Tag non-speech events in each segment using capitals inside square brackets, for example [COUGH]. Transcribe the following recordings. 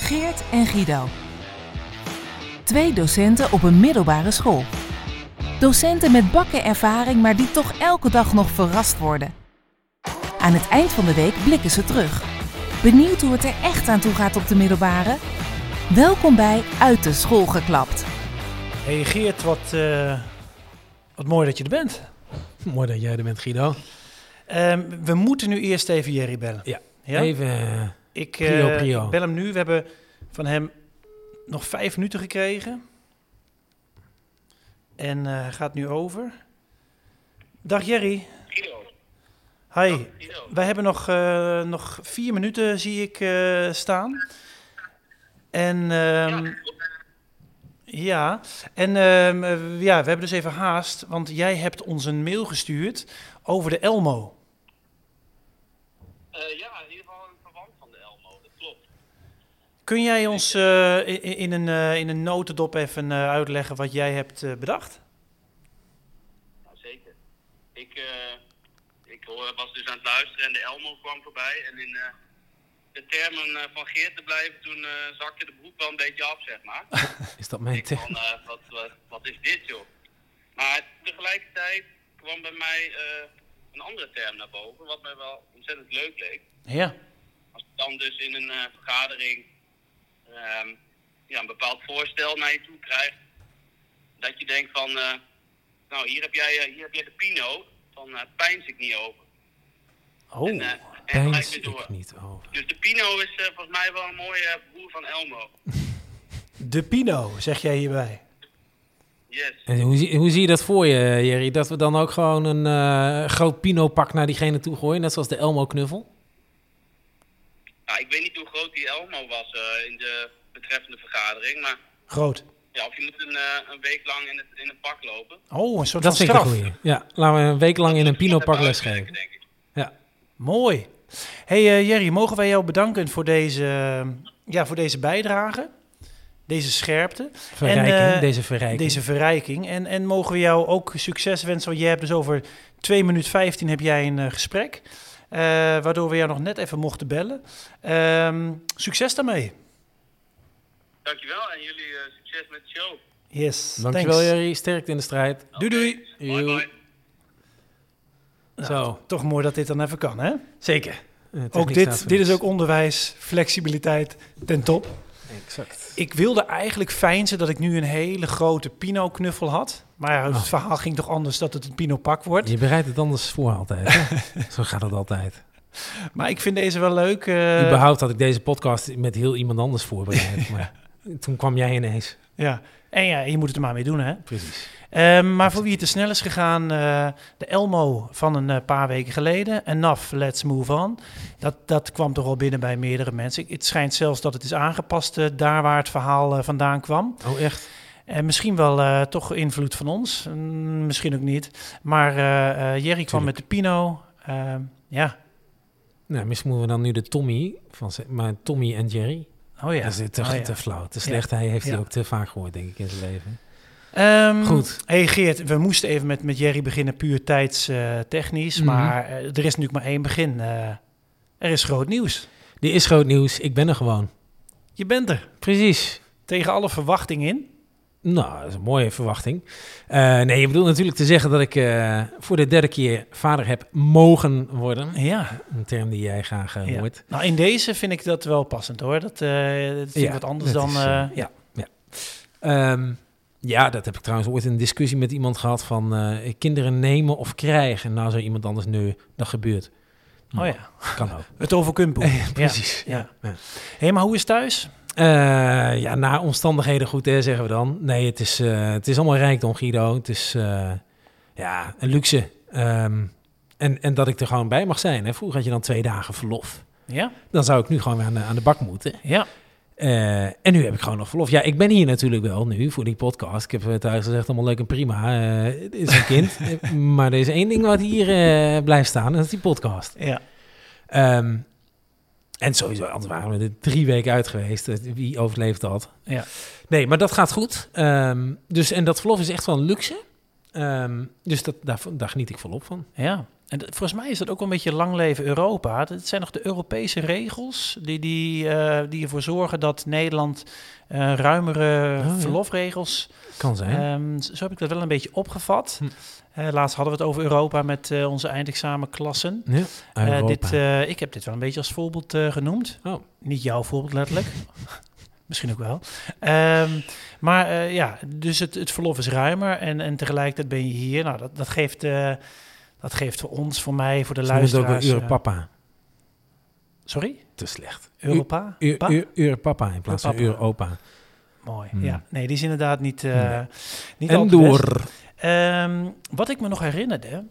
Geert en Guido. Twee docenten op een middelbare school. Docenten met bakken ervaring, maar die toch elke dag nog verrast worden. Aan het eind van de week blikken ze terug. Benieuwd hoe het er echt aan toe gaat op de middelbare? Welkom bij Uit de School geklapt. Hey Geert, wat, eh, wat mooi dat je er bent. [LAUGHS] Mooi dat jij er bent, Guido. Ehm, we moeten nu eerst even Jerry bellen. Ja. Ja? Even. eh, ik, eh, prio, prio. ik bel hem nu. We hebben van hem nog vijf minuten gekregen. En eh, hij gaat nu over. Dag Jerry. Guido. Hi. Wij hebben nog, eh, nog vier minuten, zie ik, eh, staan. En ehm, ja, en ehm, eh, ja, we hebben dus even haast, want jij hebt ons een mail gestuurd over de Elmo. Eh, ja, in ieder geval een verwant van de Elmo, dat klopt. Kun jij ons eh, i- i- in, een, eh, in een notendop even eh, uitleggen wat jij hebt eh, bedacht? Nou, zeker. Ik, eh, ik hoor- was dus aan het luisteren en de Elmo kwam voorbij. En in eh, de termen eh, van Geert te blijven, toen eh, zakte de broek wel een beetje af, zeg maar. Is dat mijn Ik tip? van, eh, wat, wat, wat is dit, joh? Maar tegelijkertijd kwam bij mij eh, een andere term naar boven, wat mij wel ontzettend leuk leek. Ja. Als ik dan dus in een eh, vergadering ehm, ja, een bepaald voorstel naar je toe krijgt, dat je denkt van, eh, nou hier heb, jij, eh, hier heb jij de pino, van eh pijns ik niet over. Oh, En, eh, en gelijk pijns weer door. ik niet oh. over. Dus de pino is eh, volgens mij wel een mooie eh, broer van Elmo. De Pino, zeg jij hierbij. Yes. En hoe, zie, hoe zie je dat voor je, Jerry? Dat we dan ook gewoon een eh, groot pinopak naar diegene toe gooien, net zoals de Elmo-knuffel? Nou, ik weet niet hoe groot die Elmo was eh, in de betreffende vergadering, maar Groot. ja, of je moet een, eh, een week lang in, het, in een pak lopen. Oh, een soort Dat van vind ik een straf. goeie. Ja, laten we een week lang in een pinopak Even lesgeven. uitwerken, denk ik. Ja. Mooi. hey, eh, Jerry, mogen wij jou bedanken voor deze, eh, ja, voor deze bijdrage? Deze scherpte. Verrijking, En, eh, deze verrijking. Deze verrijking. En, en mogen we jou ook succes wensen? Want jij hebt dus over 2 minuut 15 heb jij een eh, gesprek. eh, waardoor we jou nog net even mochten bellen. Ehm, succes daarmee. Dankjewel en jullie eh, succes met de show. Yes. Dankjewel, thanks. Jerry. Sterkte in de strijd. Doei doei. Bye bye. Zo. eh, Toch mooi dat dit dan even kan, hè? Zeker. Ook dit, dit is ook onderwijs, flexibiliteit ten top. Exact. Ik wilde eigenlijk feinzen dat ik nu een hele grote Pino-knuffel had. Maar ja, het verhaal ging toch anders dat het een Pino-pak wordt. Je bereidt het anders voor altijd. hè? [LAUGHS] Zo gaat het altijd. Maar ik vind deze wel leuk. eh, Überhaupt had ik deze podcast met heel iemand anders [LAUGHS] voorbereid. Maar toen kwam jij ineens. ja. En ja, je moet het er maar mee doen, hè? Precies. Ehm, maar voor wie het te snel is gegaan, eh, de Elmo van een eh, paar weken geleden. En NAF, Let's Move On. Dat, dat kwam toch al binnen bij meerdere mensen. Ik- Het schijnt zelfs dat het is aangepast eh, daar waar het verhaal eh, vandaan kwam. Oh, echt? En misschien wel eh, toch invloed van ons. Mm, misschien ook niet. Maar eh, eh, Jerry kwam Tuurlijk. met de Pino. Ehm, ja. Nou, misschien moeten we dan nu de Tommy van... ze- Maar Tommy en Jerry, Oh ja. dat is te, Oh ja. te flauw, te slecht. Hij heeft Ja. die ook te vaak gehoord, denk ik, in zijn leven. Ehm, Goed. Hey Geert, we moesten even met, met Jerry beginnen, puur tijdstechnisch. Mhm. Maar eh, er is natuurlijk maar één begin. Eh, er is groot nieuws. Dit is groot nieuws. Ik ben er gewoon. Je bent er. Precies. Tegen alle verwachting in. Nou, dat is een mooie verwachting. Eh, nee, je bedoelt natuurlijk te zeggen dat ik eh, voor de derde keer vader heb mogen worden. Ja. Een term die jij graag eh, ja. hoort. Nou, in deze vind ik dat wel passend hoor. Dat, eh dat vind ik wat anders dat dan... is, eh, eh, ja, ja. Ehm, ja, dat heb ik trouwens ooit een discussie met iemand gehad van eh, kinderen nemen of krijgen. En nou zei iemand anders, nee, dat gebeurt. Oh ja, Kan ook. het overkumpen. Precies. [LAUGHS] Ja. [LAUGHS] Ja. Hé, maar hoe is thuis? Eh, ja, na omstandigheden goed, hè, zeggen we dan. Nee, het is, eh, het is allemaal rijkdom, Guido. Het is eh, ja, een luxe. Ehm, en, en dat ik er gewoon bij mag zijn. Hè. Vroeger had je dan twee dagen verlof. Ja? Dan zou ik nu gewoon weer aan de, aan de bak moeten. Ja. Eh, en nu heb ik gewoon nog verlof. Ja, ik ben hier natuurlijk wel nu voor die podcast. Ik heb eh, thuis gezegd, allemaal leuk en prima. Eh, Het is een kind. Eh, [LAUGHS] maar er is één ding wat hier eh, blijft staan. En dat is die podcast. Ja. Ehm, en sowieso, anders waren we er drie weken uit geweest. Eh, Wie overleeft dat? Ja. Nee, maar dat gaat goed. Ehm, dus, en dat verlof is echt wel een luxe. Ehm, dus dat, daar, daar geniet ik volop van. Ja. En dat- volgens mij is dat ook wel een beetje lang leven Europa. Het zijn nog de Europese regels die, die, eh, die ervoor zorgen dat Nederland eh, ruimere Oh, ja. verlofregels Kan zijn. Ehm, z- zo heb ik dat wel een beetje opgevat. Hm. Eh, laatst hadden we het over Europa met eh, onze eindexamenklassen. ja, Eh, Europa. dit, eh, ik heb dit wel een beetje als voorbeeld eh, genoemd. Oh. Niet jouw voorbeeld letterlijk. [LAUGHS] Misschien ook wel. Ehm, maar eh, ja, dus het, het verlof is ruimer en, en tegelijkertijd ben je hier. Nou, dat, dat, geeft, eh, dat geeft voor ons, voor mij, voor de Ze noemen het ook wel luisteraars... eh, Europapa. sorry? Te slecht. Europa? U- Pa? U- Europapa in plaats van Europapa. Europa. Mooi, Hmm. ja. Nee, die is inderdaad niet, eh Nee. niet al En te best. door. Ehm, wat ik me nog herinnerde,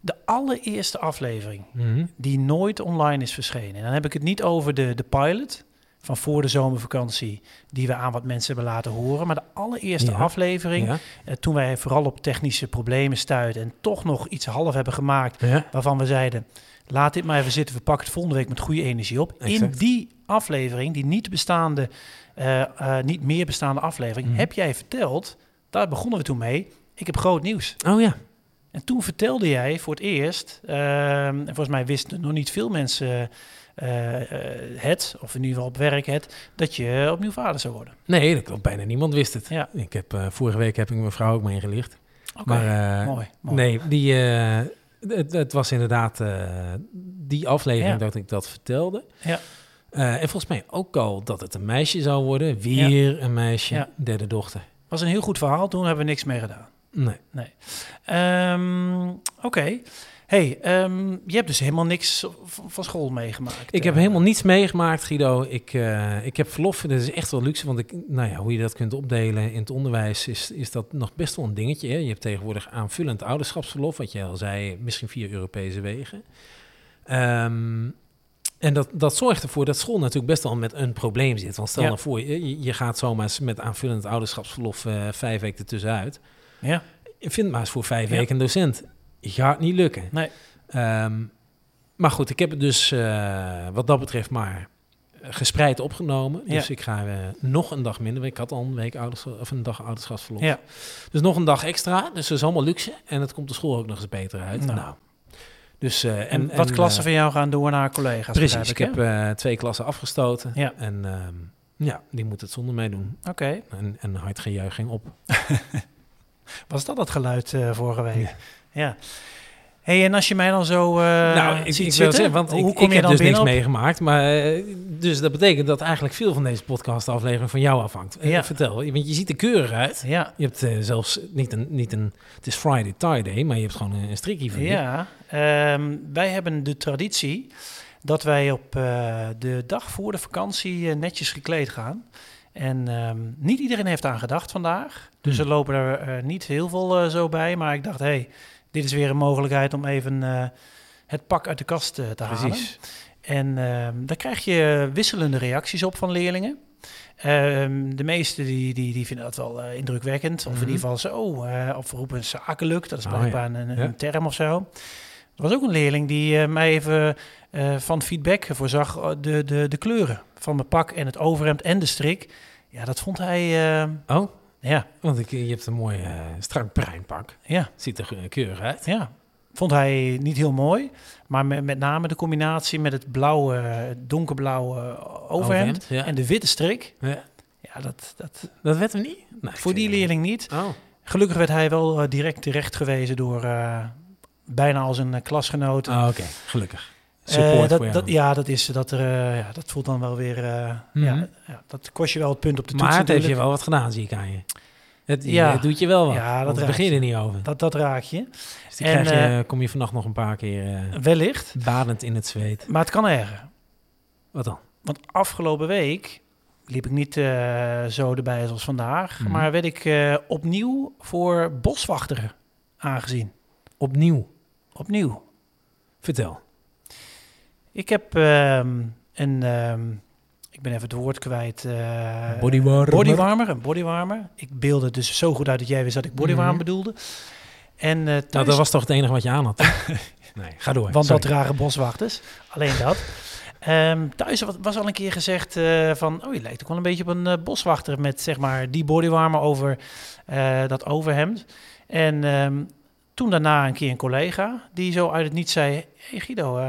de allereerste aflevering Mhm. die nooit online is verschenen. En dan heb ik het niet over de, de pilot van voor de zomervakantie, die we aan wat mensen hebben laten horen. Maar de allereerste Ja. aflevering, Ja. eh, toen wij vooral op technische problemen stuiten en toch nog iets half hebben gemaakt, Ja. waarvan we zeiden, laat dit maar even zitten, we pakken het volgende week met goede energie op. In Exact. die aflevering, die niet bestaande, eh, eh, niet meer bestaande aflevering, Mhm. heb jij verteld, daar begonnen we toen mee, ik heb groot nieuws. Oh ja. En toen vertelde jij voor het eerst, ehm, en volgens mij wisten nog niet veel mensen eh, eh, het, of in ieder geval op werk het, dat je opnieuw vader zou worden. Nee, dat klopt. Bijna niemand wist het. Ja. Ik heb, eh, vorige week heb ik mijn vrouw ook mee ingelicht. Oké, Maar eh, mooi. mooi. nee, die, eh, het, het was inderdaad eh, die aflevering Ja. dat ik dat vertelde. Ja. Eh, en volgens mij ook al dat het een meisje zou worden. Weer een meisje, Ja. derde dochter. was een heel goed verhaal, toen hebben we niks meer gedaan. Nee. Ehm, Oké. Hey, ehm, je hebt dus helemaal niks van van school meegemaakt. Ik heb eh. helemaal niets meegemaakt, Guido. Ik, eh, ik heb verlof. Dat is echt wel luxe. Want ik, nou ja, hoe je dat kunt opdelen in het onderwijs, is, is dat nog best wel een dingetje. Hè? Je hebt tegenwoordig aanvullend ouderschapsverlof, wat je al zei, misschien via Europese wegen. Ehm, en dat, dat zorgt ervoor dat school natuurlijk best wel met een probleem zit. Want stel Ja. nou voor, je, je gaat zomaar eens met aanvullend ouderschapsverlof eh, vijf weken ertussenuit. eh, Ja, Vind maar eens voor vijf Ja. weken een docent. Gaat niet lukken. Nee. Ehm, maar goed, ik heb het dus eh, wat dat betreft maar gespreid opgenomen. Dus Ja. ik ga eh, nog een dag minder. Ik had al een week ouders, of een dag ouderschapsverlof. ja. Dus nog een dag extra. Dus dat is allemaal luxe. En het komt de school ook nog eens beter uit. Nou. Nou. Dus, eh, en, En, wat en, klassen eh, van jou gaan door naar collega's? Precies. begrijp Ik hè? heb eh, twee klassen afgestoten. Ja. En ehm, ja, die moeten het zonder mij doen. Oké. En, en hard gejuiching op. Was dat dat geluid eh, vorige week? Ja. Hey, en als je mij dan zo eh nou, ik, ziet ik wil zitten, zeggen, want hoe ik, kom ik je heb dan dus binnen niks op- meegemaakt. Maar, eh, dus dat betekent dat eigenlijk veel van deze podcastaflevering van jou afhangt. Eh, Ja. Vertel, want je ziet er keurig uit. Ja, Je hebt eh, zelfs niet een, niet een, het is Friday tie-day, maar je hebt gewoon een, een strikje van je. ja. Ehm, wij hebben de traditie dat wij op eh, de dag voor de vakantie eh, netjes gekleed gaan. En ehm, niet iedereen heeft aan gedacht vandaag. Dus Hmm. er lopen er eh, niet heel veel eh, zo bij. Maar ik dacht, hé, hey, dit is weer een mogelijkheid om even eh, het pak uit de kast eh, te halen. Precies. En ehm, daar krijg je wisselende reacties op van leerlingen. Ehm, de meesten die, die, die vinden dat wel eh, indrukwekkend. Of in Mhm. ieder geval zo. eh of we roepen zakelijk. Dat is Oh, blijkbaar een, een Ja. term of zo. Er was ook een leerling die eh, mij even eh, van feedback voorzag. eh, De, de, de kleuren van mijn pak en het overhemd en de strik. Ja, dat vond hij... eh, Oh, ja, want ik, je hebt een mooi eh, strak bruin pak. ja, Ziet er eh, keurig uit. ja. Vond hij niet heel mooi. Maar met, met name de combinatie met het blauwe, het donkerblauwe overhemd. Ja. En de witte strik, Ja. ja, dat, dat, Eh, Dat werd hem niet? Nou, ik voor die vind- leerling niet. Oh, Gelukkig werd hij wel eh, direct terecht gewezen door eh, bijna al zijn eh, klasgenoten. Ah, oké. Gelukkig. Eh, Support dat, voor jou. dat, ja, dat is dat er, eh, ja, dat voelt dan wel weer. eh, Mhm. ja, ja, dat kost je wel het punt op de toets. maar het heeft je natuurlijk. wel wat gedaan, zie ik aan je. Het, Ja. het doet je wel wat. Ja, dat want we raakt beginnen er niet over. Dat, dat raak je. Dus die En, eh, krijg je, kom je vannacht nog een paar keer eh, Wellicht. badend in het zweet. Maar het kan erger. Wat dan? Want afgelopen week liep ik niet eh, zo erbij als vandaag. Mhm. Maar werd ik eh, opnieuw voor boswachteren aangezien. Opnieuw. Opnieuw. Vertel. Ik heb ehm, een, ehm, ik ben even het woord kwijt. eh, Bodywarmer. bodywarmer, een bodywarmer. Ik beelde het dus zo goed uit dat jij wist dat ik bodywarmer Mhm. bedoelde. En eh, Nou, thuis- dat was toch het enige wat je [LAUGHS] aan had? hè? nee, ga door. want dat Sorry. dragen boswachters, alleen [LAUGHS] dat. Ehm, thuis wa- was al een keer gezegd eh, van, oh je lijkt ook wel een beetje op een eh, boswachter met zeg maar die bodywarmer over eh, dat overhemd. En ehm, Toen daarna een keer een collega die zo uit het niet zei... hey Guido, eh,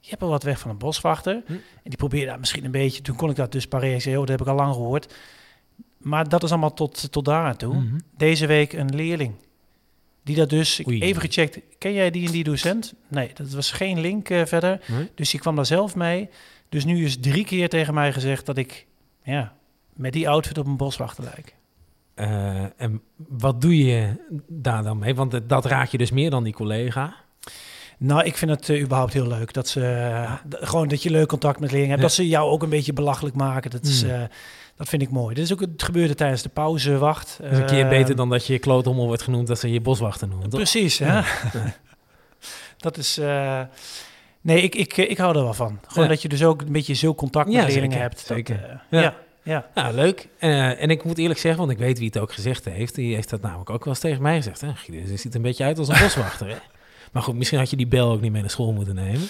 je hebt wel wat weg van een boswachter. Hm. En die probeerde dat misschien een beetje... Toen kon ik dat dus pareren. Ik zei, oh, dat heb ik al lang gehoord. Maar dat is allemaal tot, tot daar aan toe. Mhm. Deze week een leerling. Die dat dus, ik Oei. even gecheckt, ken jij die en die docent? Nee, dat was geen link eh, verder. Nee? Dus die kwam daar zelf mee. Dus nu is drie keer tegen mij gezegd dat ik ja, met die outfit op een boswachter lijk. Eh, en wat doe je daar dan mee? Want eh, dat raak je dus meer dan die collega. Nou, ik vind het eh, überhaupt heel leuk. Dat ze, eh, d- gewoon dat je leuk contact met leerlingen hebt. Ja. Dat ze jou ook een beetje belachelijk maken. Dat, is, Hmm. eh, dat vind ik mooi. Dit is ook, het gebeurde tijdens de pauzewacht. Dat is een keer Eh, beter dan dat je je klootommel wordt genoemd... dat ze je boswachter noemen. toch? Precies, hè? [LAUGHS] dat is... eh, nee, ik, ik, eh, ik hou er wel van. Gewoon Ja. dat je dus ook een beetje zo contact met Ja, leerlingen zeker, hebt. Dat, zeker. eh, Ja. ja. ja. Nou, leuk. Eh, en ik moet eerlijk zeggen, want ik weet wie het ook gezegd heeft. Die heeft dat namelijk ook wel eens tegen mij gezegd. Hè? Guido, je ziet er een beetje uit als [LAUGHS] een boswachter. Hè? Maar goed, misschien had je die bel ook niet mee naar school moeten nemen.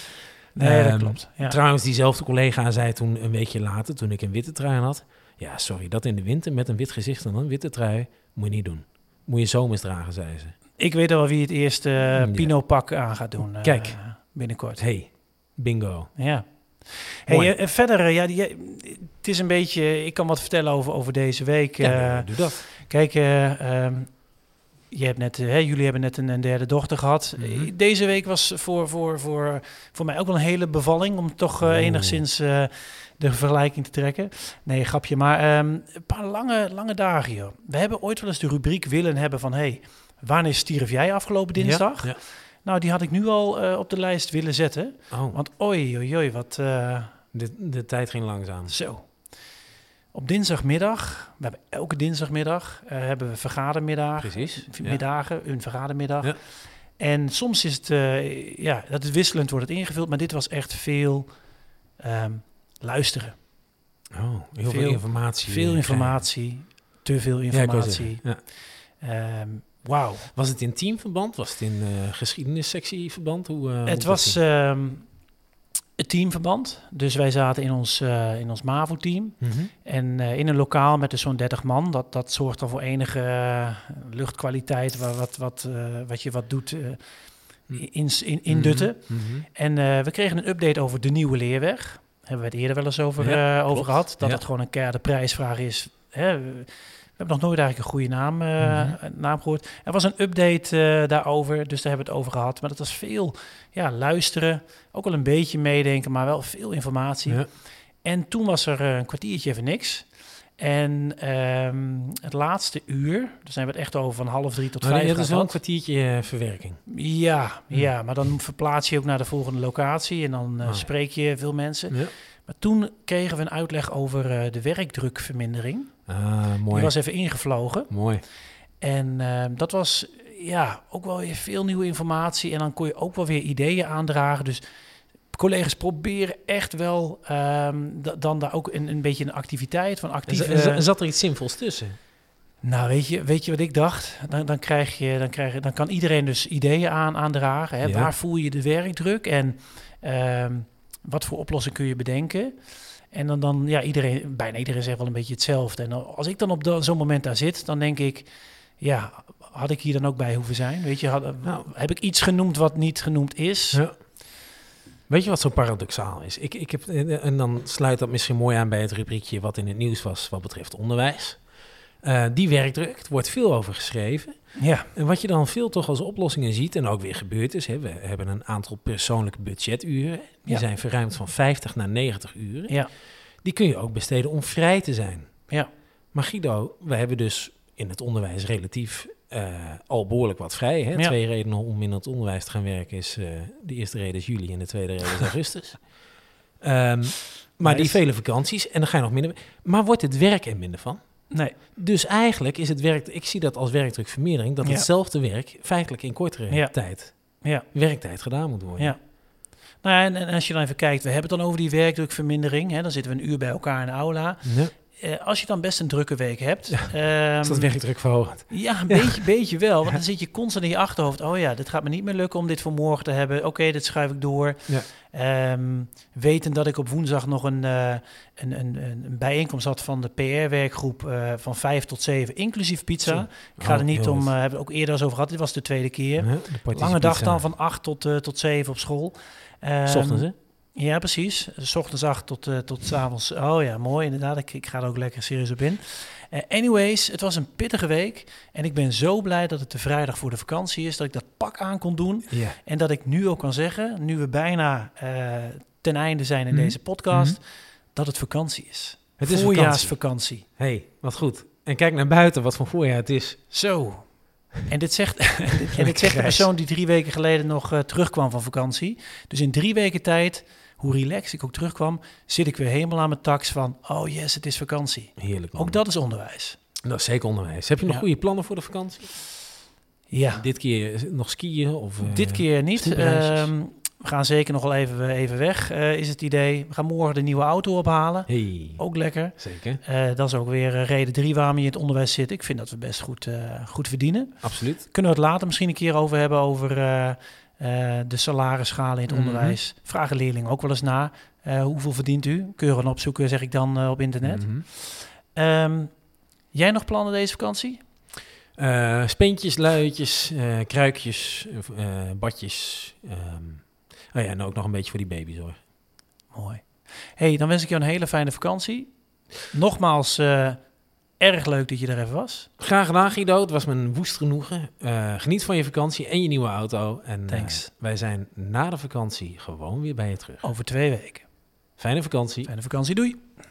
Nee, dat Ehm, klopt. Ja. Trouwens, diezelfde collega zei toen een weekje later, toen ik een witte trui aan had. Ja, sorry, dat in de winter met een wit gezicht en een witte trui moet je niet doen. Moet je zomers dragen, zei ze. Ik weet al wel wie het eerste eh, Ja. Pino-pak aan gaat doen. eh, Kijk. Binnenkort. Dus, Hey, bingo. Ja. Mooi. Hey, eh, verder, eh, ja, die, eh, het is een beetje... Ik kan wat vertellen over, over deze week. eh, Ja, doe dat. Kijk, eh, ehm, je hebt net, eh, hè, jullie hebben net een, een derde dochter gehad. Mhm. Eh, Deze week was voor, voor, voor, voor mij ook wel een hele bevalling. Om toch eh, Oeh. enigszins eh, de vergelijking te trekken. Nee, grapje. Maar ehm, een paar lange, lange dagen, joh. We hebben ooit wel eens de rubriek willen hebben van... Hey, wanneer stierf jij afgelopen dinsdag? Ja, Nou, die had ik nu al eh, op de lijst willen zetten. ja. Oh, Want oei, oei, oei, wat... eh, de, de tijd ging langzaam. zo. Op dinsdagmiddag, we hebben elke dinsdagmiddag, eh, hebben we vergadermiddagen. Precies. V- ja. middagen, een vergadermiddag. Ja. En soms is het, eh, ja, dat is wisselend wordt het ingevuld, maar dit was echt veel ehm, luisteren. Oh, heel veel, Veel- informatie. veel eh, informatie, te veel krijgen. Ja, ik wou informatie. zeggen, ja. Ehm, Wauw. Was het in teamverband? Was het in eh, geschiedenissectieverband? Hoe, eh, hoe moet het dat was zien? ehm, het teamverband, dus wij zaten in ons, eh, in ons MAVO-team. Mhm. En eh, in een lokaal met dus zo'n 30 man, dat, dat zorgt dan voor enige eh, luchtkwaliteit, wa- wat, wat, eh, wat je wat doet eh, in, in, indutten. Hm. Mhm. En eh, we kregen een update over de nieuwe leerweg. Hebben we het eerder wel eens over, Ja, eh, over klopt. gehad. Dat Ja. het gewoon een keiharde prijsvraag is. Hè? We hebben nog nooit eigenlijk een goede naam, eh, Mhm. naam gehoord. Er was een update eh, daarover, dus daar hebben we het over gehad. Maar dat was veel ja, luisteren, ook wel een beetje meedenken, maar wel veel informatie. Ja. En toen was er eh, een kwartiertje even niks. En ehm, het laatste uur, dus zijn we het echt over van half drie tot Oh, vijf. nee, dat is wel een gehad. kwartiertje eh, verwerking. Ja, Hmm. ja, maar dan verplaats je ook naar de volgende locatie en dan eh, Ah, ja. spreek je veel mensen. Ja. Maar toen kregen we een uitleg over eh, de werkdrukvermindering. Ah, mooi. Die was even ingevlogen. Mooi. En eh, dat was ja, ook wel weer veel nieuwe informatie. En dan kon je ook wel weer ideeën aandragen. Dus collega's proberen echt wel ehm, da- dan daar ook een, een beetje een activiteit van En, actief... za- en za- eh, en zat er iets zinvols tussen? nou, weet je, weet je wat ik dacht? Dan, dan, krijg je, dan, krijg je, dan kan iedereen dus ideeën aan, aandragen. Hè? Ja. Waar voel je de werkdruk en ehm, wat voor oplossing kun je bedenken? En dan, dan ja, iedereen, bijna iedereen zegt wel een beetje hetzelfde. En dan- als ik dan op dat- zo'n moment daar zit, dan denk ik, ja, had ik hier dan ook bij hoeven zijn? Weet je, had- Nou. heb ik iets genoemd wat niet genoemd is? Ja. Weet je wat zo paradoxaal is? Ik, ik heb, en en dan sluit dat misschien mooi aan bij het rubriekje wat in het nieuws was wat betreft onderwijs. Eh, die werkdruk, er wordt veel over geschreven. Ja, En wat je dan veel toch als oplossingen ziet en ook weer gebeurd is, hè, we hebben een aantal persoonlijke budgeturen. Die Ja. zijn verruimd van 50 naar 90 uren. ja, Die kun je ook besteden om vrij te zijn. ja. Maar Guido, we hebben dus in het onderwijs relatief eh, al behoorlijk wat vrij. Hè? Ja. Twee redenen om in het onderwijs te gaan werken is... eh, de eerste reden is juli en de tweede reden is [LAUGHS] augustus. Ehm, maar die Nice. vele vakanties en dan ga je nog minder... Maar wordt het werk er minder van? Nee, Dus eigenlijk is het werk... Ik zie dat als werkdrukvermeerdering... dat Ja. hetzelfde werk feitelijk in kortere Ja. tijd, ja. werktijd gedaan moet worden. Ja. Nou ja, en, en als je dan even kijkt, we hebben het dan over die werkdrukvermindering. Hè, dan zitten we een uur bij elkaar in de aula. Ja. eh, als je dan best een drukke week hebt. Is ehm, dat werkdruk verhogend? ja, een beetje, beetje wel. Want dan zit je constant in je achterhoofd. Oh ja, dit gaat me niet meer lukken om dit voor morgen te hebben. Oké, dit schuif ik door. Ja. Ehm, weten dat ik op woensdag nog een, eh, een, een, een een bijeenkomst had van de PR-werkgroep eh, van 5 tot 7, inclusief Zo. pizza. Ik ga Oh, er niet heel om, goed. eh, hebben we het ook eerder eens over gehad. Dit was de tweede keer. Huh? De party Lange dag pizza. dan van 8 tot, eh, tot 7 op school. Ehm, S ochtends, hè? ja, precies. S ochtends acht tot, eh tot 's avonds. Oh ja, mooi inderdaad. Ik, ik ga er ook lekker serieus op in. Eh, anyways, het was een pittige week. En ik ben zo blij dat het de vrijdag voor de vakantie is. Dat ik dat pak aan kon doen. Ja. En dat ik nu ook kan zeggen, nu we bijna eh, ten einde zijn in Mhm. deze podcast, dat het vakantie is. Het is vakantie. Voorjaarsvakantie. hey, wat goed. En kijk naar buiten, wat voor voorjaar het is. Zo. En dit zegt, [LAUGHS] en dit zegt de Grijs. persoon die drie weken geleden nog eh, terugkwam van vakantie. Dus in drie weken tijd, hoe relaxed ik ook terugkwam, zit ik weer helemaal aan mijn tax van, oh yes, het is vakantie. Heerlijk. man. Ook dat is onderwijs. Dat is zeker onderwijs. Heb je nog Ja. goede plannen voor de vakantie? Ja, Dit keer eh, nog skiën? Of, eh, dit keer niet. snoepreisjes. Ehm, we gaan zeker nog wel even, even weg, eh, is het idee. We gaan morgen de nieuwe auto ophalen. Hey, Ook lekker. zeker. Eh, dat is ook weer eh, reden drie waarom je in het onderwijs zit. Ik vind dat we best goed, eh, goed verdienen. Absoluut. Kunnen we het later misschien een keer over hebben over eh, eh, de salarisschalen in het Mhm. onderwijs. Vragen leerlingen ook wel eens na. eh, hoeveel verdient u? Kun je gewoon opzoeken, zeg ik dan eh, op internet. Mhm. Ehm, jij nog plannen deze vakantie? Eh, speentjes, luidjes, eh, kruikjes, eh, eh, badjes. ehm. oh ja, en ook nog een beetje voor die baby's hoor. Mooi. hey, dan wens ik jou een hele fijne vakantie. Nogmaals, eh, erg leuk dat je er even was. Graag gedaan Guido, het was me een woest genoegen. Eh, geniet van je vakantie en je nieuwe auto. En eh, Thanks. wij zijn na de vakantie gewoon weer bij je terug. Over twee weken. Fijne vakantie. Fijne vakantie, doei.